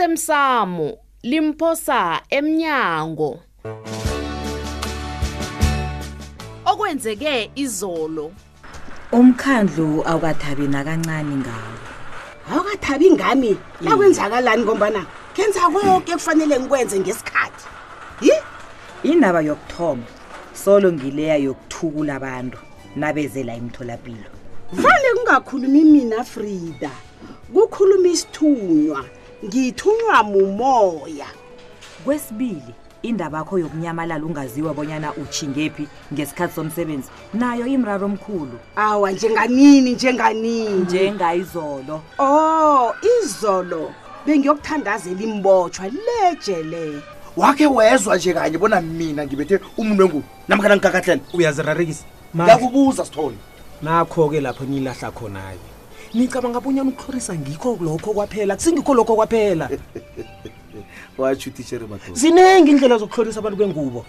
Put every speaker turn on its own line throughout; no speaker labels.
osemsamo limphosa emnyango okwenzeke izolo
umkhandlu awukathabi nakancane ngawo
awukathabi ngami nakwenzakalani ngombana kenza konke kufanele ngikwenze ngesikhathi yi
indaba yokuthoma solo ngileya yokuthukula abantu nabezela imtholapilo
fane kungakhulumi mina frida kukhuluma isithunywa ngithunywa mumoya
kwesibili indaba yakho yokunyamalala ungaziwa bonyana utshingephi ngesikhathi somsebenzi nayo imraro omkhulu
awa njenganini njenganini
njengayizolo
o izolo bengiyokuthandazela imbotshwa lejele
wakhe wezwa nje kanye bona mina ngibethe umuntu wengu namkhana ngigagahlela
uyazirarekisa
ngiyakubuza sithole
nakho-ke lapho niyilahla khona-ke nicabanga bonyana ukuhlorisa ngikho lokho kwaphela kusingikho lokho kwaphela
watsho utitshere madoda
ziningi indlela zokuhlorisa abantu kwengubo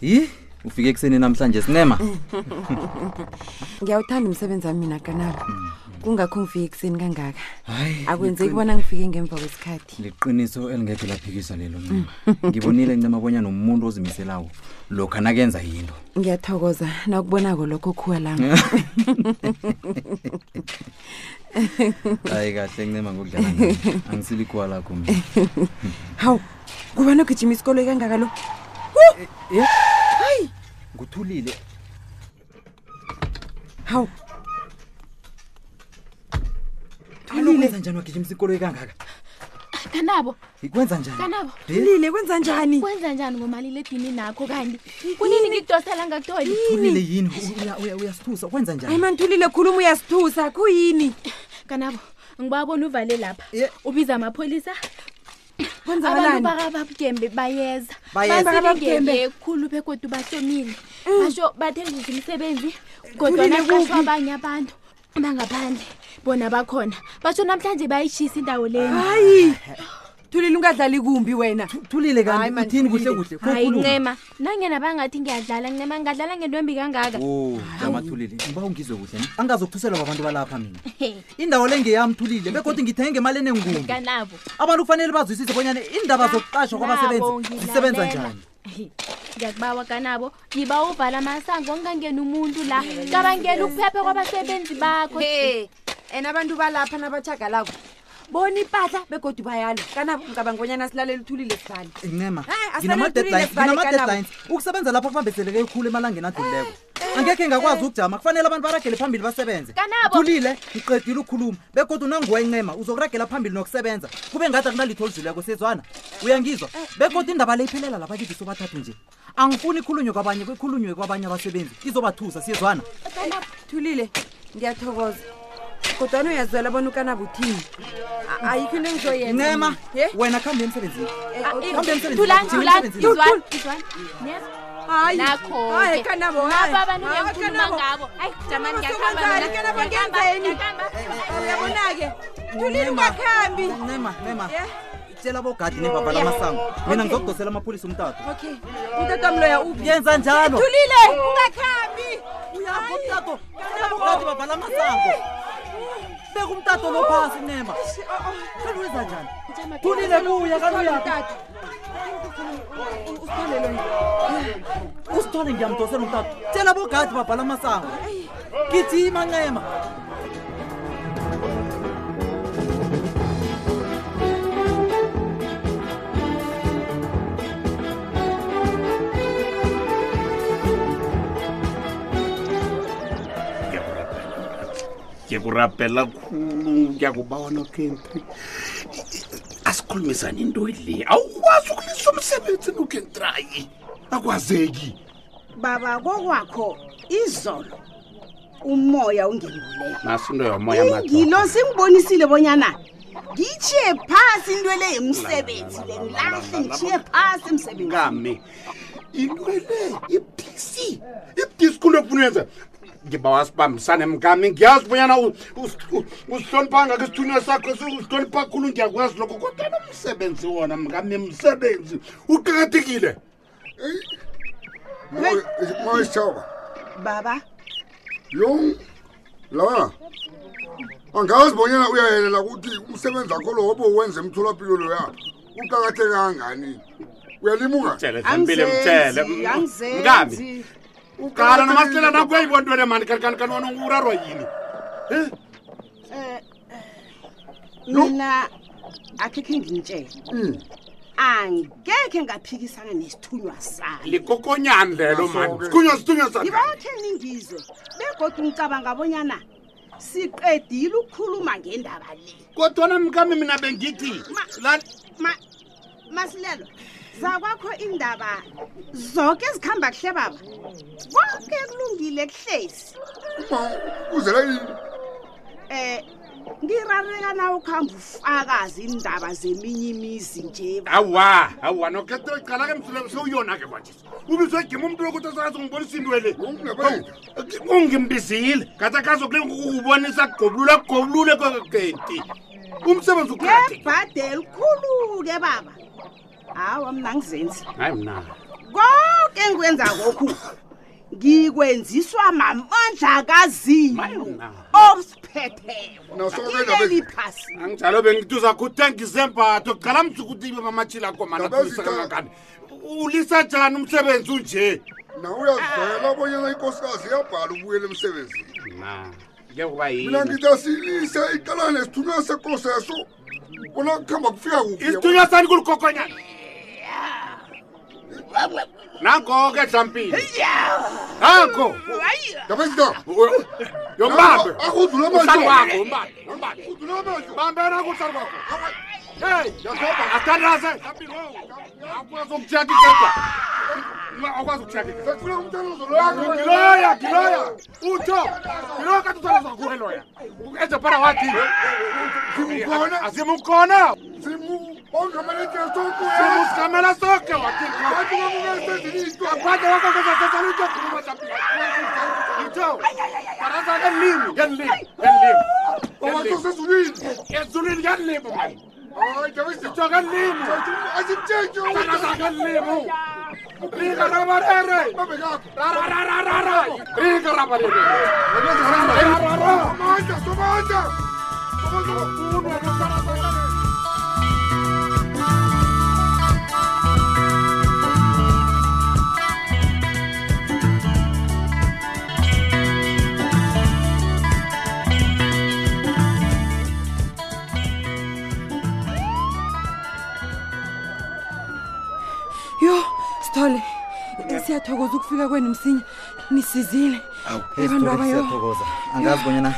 yi ufike ekuseni namhlanje sinema
ngiyawuthanda umsebenzi wami mina kanabo kungakho ngifike ekuseni kangaka
Mm. Hayi,
akwenzeki
liqini-
bona ngifike ngemva kwesikhathi
liqiniso elingekhe laphikiswa lelo ncema ngibonile ncema bonya nomuntu ozimiselako lokha nakenza yinto
ngiyathokoza nakubonako lokho khuwa lami
hayi kahle ncema ngokudlala nami. angisilikuwa lakho mina
hawu kuba nogijima isikolo kangaka lo
nguthulile
hawu
alokwenza njani wagijimisa ikoloyi kangaka
kanabo
ikwenza njani
Kanabo.
Eh,
lile kwenza njani
kwenza njani ngomaliledini nakho kanti kunini ngikudosela ngakutoli
thulile yini U- uya- uya- uyasithusa kwenza njani
ayimanithulile khuluma uyasithusa kuyini
kanabo ngibabona uvale lapha
Ye.
ubiza amapholisa abantu
kwenzakalani
bakababugembe bayeza
Bayeza. Mm.
Bakababugembe.
basilingelekhulu begodu bahlomile basho bathengisa imisebenzi
Thulile,
kodwana
kuphi?
kasho abanye abantu bangaphandle bona bakhona basho namhlanje bayishisa indawo leni
hayi thulile ungadlali kumbi wena
thulile
Hayi
kanti
man,
uthini kuhle kuhle
Thulile.
hayi
Khokhuluma.
ncema nangena bangathi ngiyadlala ncema ngadlala ngentwembi kangaka
Oh, jama thulile ngiba ungizwe kuhle ne? angazokuthuselwa kwabantu balapha mina
He,
indawo le ngeyami thulile begodwa ngithenge ngemali enengumbi
kanabo
abantu kufanele bazwisise bonyana iindaba zokuqashwa
Ah, Nabo,
kwabasebenzi
ngilalela.
zisebenza njani
ngiyakubawa kanabo ngiba uvala amasango kungangeni umuntu la cabangela ukuphepha kwabasebenzi bakho
he and Eh, abantu balapha nabachagalako bona ipahla begodi bayalo kanabo ngicabanga bonyana silalela uthulile sibali
ncema
Hayi, asilaleli
nginama-deadlines
Thulile, sibale
nginama-deadlines. ukusebenza lapho phambeseleke khulu emalangeni adlulileko
Eh,
angekhe ngakwazi ukujama kufanele abantu baragele phambili basebenze
Kanabo.
thulile ngiqedile ukukhuluma begodwa nanguwe ncema uzokuragela phambili nokusebenza kube ngathi akunalitho oludluleko sezwana uyangizwa
Eh,
begodwa indaba le iphelela labakithi sobathathu nje angifuni ikhulunywe kwabanye ikhulunywe kwabanye abasebenzi izobathusa siyezwana
Eh,
thulile ngiyathokoza kodwana uyazwela bona ukanabo uthini A- ayikho into engizoyenza
ncema
Ye?
eh.
wena khambe emsebenzini
Eh,
Ah,
okay.
eh,
Kambe emsebenzini,
thulani
jima
thulani
emsebenzini.
izwani izwani yes
Hayi, hayi,
nakho-ke
kanabo, hayi.
nabo abantu
Hayi,
ngiyakhuluma
kanabo.
ngabo ayi jamani
Kanabo
ngiyakhamba
sekwenzani?
mina.
Kanabo
Ngiyakhamba,
ngenzeni?
ngiyakhamba.
uyabona-ke thulile
Ncema.
ungakhambi
ncema ncema
Yeah.
tshela bogadi nebaba lamasango mina ngizokudosela amapholisa umtato
okay utata loya uphi Eh,
yenza njalo
thulile ungakhambi
Uyaphi umtato tshela bogadi baba lamasango beka umtato lo phasi ncema kanwenza njani thulile buya kanuya usithole ngiyamdosela umtato tshela bogadi baba lamasango gijima ncema
ngiyakurabhela khulu ngiyakubawana kentri asikhulumisane into le awukwazi ukulisa umsebenzini ukentrayi akwazeki
baba kokwakho izolo umoya ungenileyo
naso into yomoya
ingilo singibonisile bonyana ngitshiye phasi into le yemsebenzi le ngilahle ngitshiye phasi emsebenzini
ngame into le ibhisi ibhisi khulu ekufunyenza ngiba wasibambisane mkami ngiyazi ubonyana u- usi- u- usihloniphanga ke isithunywa sakho usihlonipha khulu ngiyakwazi lokho kodwa nomsebenzi wona mkami msebenzi uqakathekile
Moyishoba
baba
yo lawa angazi bonyana uyayelela ukuthi umsebenzi wakho lo wobo wenze emtholapilo loya uqakatheke kangani uyalimuka
Angizenzi,
Mngani,
angizenzi
uqala nomasitela nakho uyayibona into le mani kanikanikani wena urarwa yini
Eh,
No.
mina akhekhe ngintshele
Mm.
angekhe ngaphikisana nesithunywa sami
likokonyani lelo mani sithunywa sithunywa sa
ngibakhe ningizwe begodwa ngicabanga bonyana siqedile ukukhuluma ngendaba le
kodwana mkami mina bengithi
Ma-
la-
Ma- masilelo zakwakho indaba zonke ezikhamba kuhle baba konke kulungile kuhlezi
Ma, uzela yini
um ngirareka na ukuhamba ufakazi indaba zeminye imizi nje baba.
awa awa nokhetela cala ke msuleko sewuyona ke kwanje ubizwegima umntu lokuthi sakazi ngibonisa into ele ungimbizile kata kazokule ngokubonisa kugobulule kugobulule koketi umsebenzi uqakatheke
ngebhadeli khulu-ke baba hawa mna ngizenzi
hayi mna
konke engikwenza kokhu ngikwenziswa mamandla kazimu
Mayina.
obusipheteko
Naso-ke indaba ezi-
kileli phasi
anginjalo bengituza kuthenga izembatho cala mzukuthi ibe mamatshila
Nabezitha-
komanakangani ulisa njani umsebenzi unje
na uyazela bonyana inkosikazi iyabhala ubuyela emsebenzini
mna kuyokuba yini
mina ngithi asilise iqalana nesithunywa sekoseso bona kuhamba kufika kuphi
isithunywa sani kulikokonyana nanko-ke dlampile nanko
ndabezita
yombambe
akudlula
usani wakho
manje
umbambe umbambe bambena kusani wakho hey asikandase dlampile akwazi ukujaka isedwa akwazi ukujaka
sekufuna umthandazo loyakho
giloya giloya utsho giloya kati uthandaza kuwe loya ejapara wathi
Simukona.
azimukona
simu ongamaleke sokuya
simusikamela soke wathi
kanti kamukaesezilitwa
akwaje wakokezasesalito khuluma dlampile ito karaza ngenlimi ngenlimi ngenlimi
owasosezulwini
ezulwini ngenlimi man
hayi ndabezita
ito ngenlimi
asitshentshe
karaza ngenlimi linga rabarere
babekakho
rararararara linga rabarere
amandla somandla
yo sithole siyathokoza ukufika kwenu msinya nisizile abantu abayo
angazi bonyana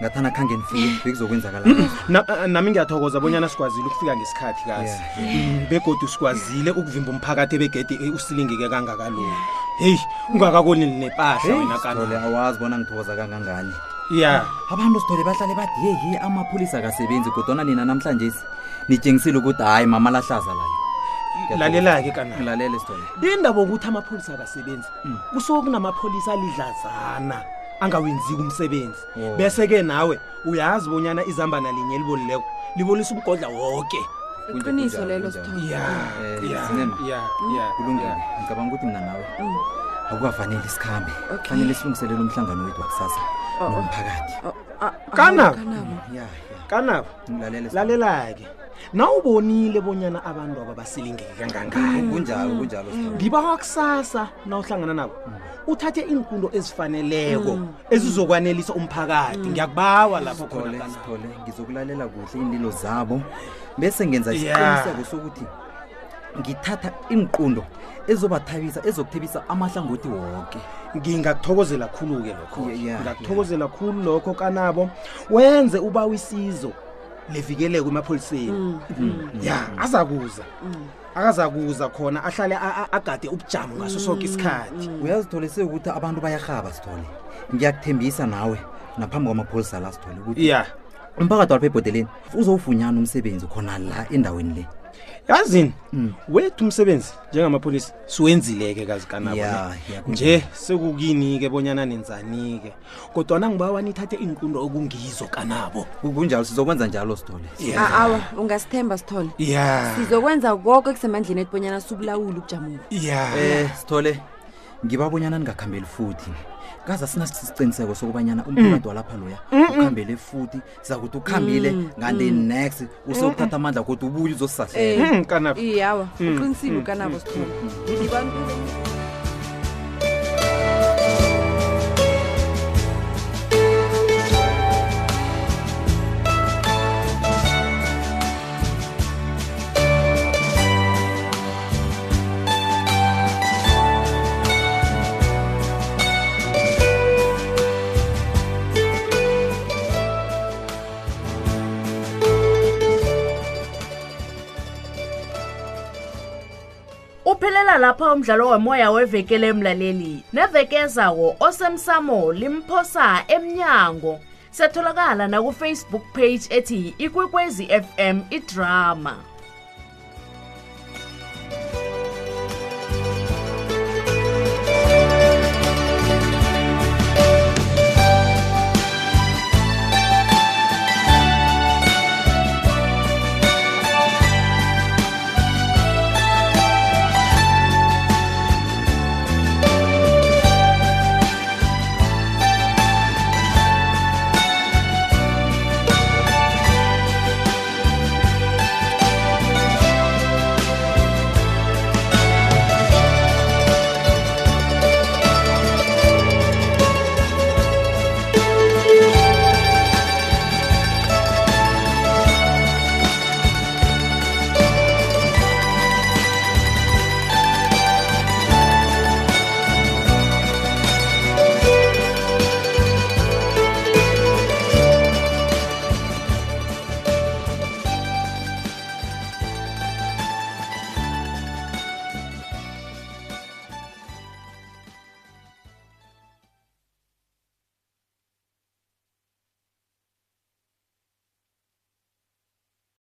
ngathana khange nifike bekuzokwenzakalaa
Na- ah, nami ngiyathokoza bonyana sikwazile ukufika ngesikhathi kazi Mm, begodu sikwazile ukuvimba umphakathi ebegede eh, usilingeke kangakaloku heyi ungakakoneli nepahla wena
sithole
kana
awazi bona ngithokoza kangangani
ya
abantu sithole bahlale bathi yeyi amapholisa akasebenzi kodwana nina namhlanje nitshengisile ukuthi hayi mama lahlaza layo
lalela-ke kana
lalele sithole
indaba yokuthi amapholisa akasebenzi
Mm.
kusuke kunamapholisa alidlazana angawenziki umsebenzi
Oh.
bese-ke nawe uyazi bonyana izambana linye libolileko libolisa umgodla woke
iqiniso lelo sithole
ya
Eh,
ya,
Sinema.
ya, ya,
kulungile
ya.
ngicabanga ukuthi mina nawe
Mm.
akukafanele sikhambe
Okay.
kufanele silungiselele umhlangano wethu wakusasa
Oh, oh.
nomphakathi
Oh, ah, ah,
Kana?
kanabo.
ya
kanabo
ngilalele
lalela-ke nawubonile bonyana abantu aba basilingeke kangangani
Mm. kunjalo kunjalo Mm. sithole
ngibawa kusasa nawuhlangana nabo uthathe iinkundo ezifaneleko ezizokwanelisa umphakathi ngiyakubawa lapho khona
Mm. sithole
kana.
sithole ngizokulalela kuhle iinlilo zabo bese ngenza
Yeah.
isiqiniseko sokuthi ngithatha iinqundo ezobathabisa ezokuthebisa amahlangothi woke
ngingakuthokozela khulu-ke lokho
Yeah, yeah,
ngingakuthokozela khulu lokho kanabo wenze ubawisizo levikeleko
Mm,
emapholiseni Mm. ya azakuza akazakuza khona ahlale a- a- agade ubujamo ngaso
Mm,
soke isikhathi
uyazithole sekukuthi abantu bayarhaba sithole ngiyakuthembisa nawe naphambi kwamapholisa la sithole ukuthi
ya
umphakathi walapha ebhodeleni uzowufunyana umsebenzi khona la endaweni le
yazini
Mm.
wethu umsebenzi njengamapholisa siwenzile-ke kazi kanabo
Ya,
ne?
ya,
nje sekukini-ke bonyana nenzani-ke kodwana ngibawa nithathe iinkundo okungizo kanabo
Ku- kunjalo sizokwenza njalo sithole
Ah, awa ungasithemba sithole
ya
sizokwenza konke kusemandleni etibonyana sibulawule ubujamo
ya
eh sithole ngibabonyana ningakhambeli futhi kaza sinasisiqiniseko sokubanyana umphakathi walapha loya ukhambele futhi sizakuthi ukhambile kanti next usokuthatha amandla kodwa ubuye uzosisahlela
Hmm, kanabo
iyawa Eh, uqinisile ukanabo sithole Ngidibani-
uphelela lapha umdlalo womoya wevekele emlaleli nevekezawo osemsamo limphosa emnyango setholakala nakufacebook page ethi ikwekwezi fm idrama